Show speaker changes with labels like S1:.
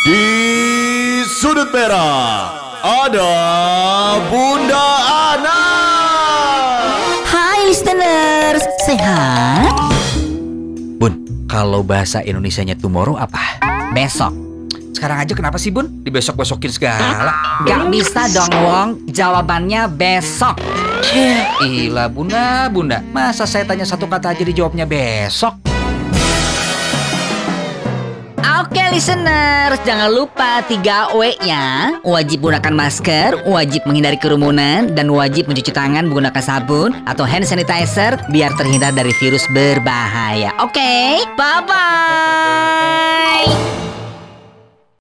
S1: Di sudut merah ada Bunda Ana.
S2: Hai listeners, sehat?
S3: Bun, kalau bahasa Indonesianya tomorrow apa? Besok. Sekarang aja kenapa sih Bun? Dibesok-besokin segala.
S2: Gak bisa dong Wong, jawabannya besok
S3: Gila Bunda, Bunda. Masa saya tanya satu kata aja dijawabnya besok?
S2: Oke listeners, jangan lupa 3W ya Wajib gunakan masker, wajib menghindari kerumunan Dan wajib mencuci tangan menggunakan sabun atau hand sanitizer Biar terhindar dari virus berbahaya Oke, bye-bye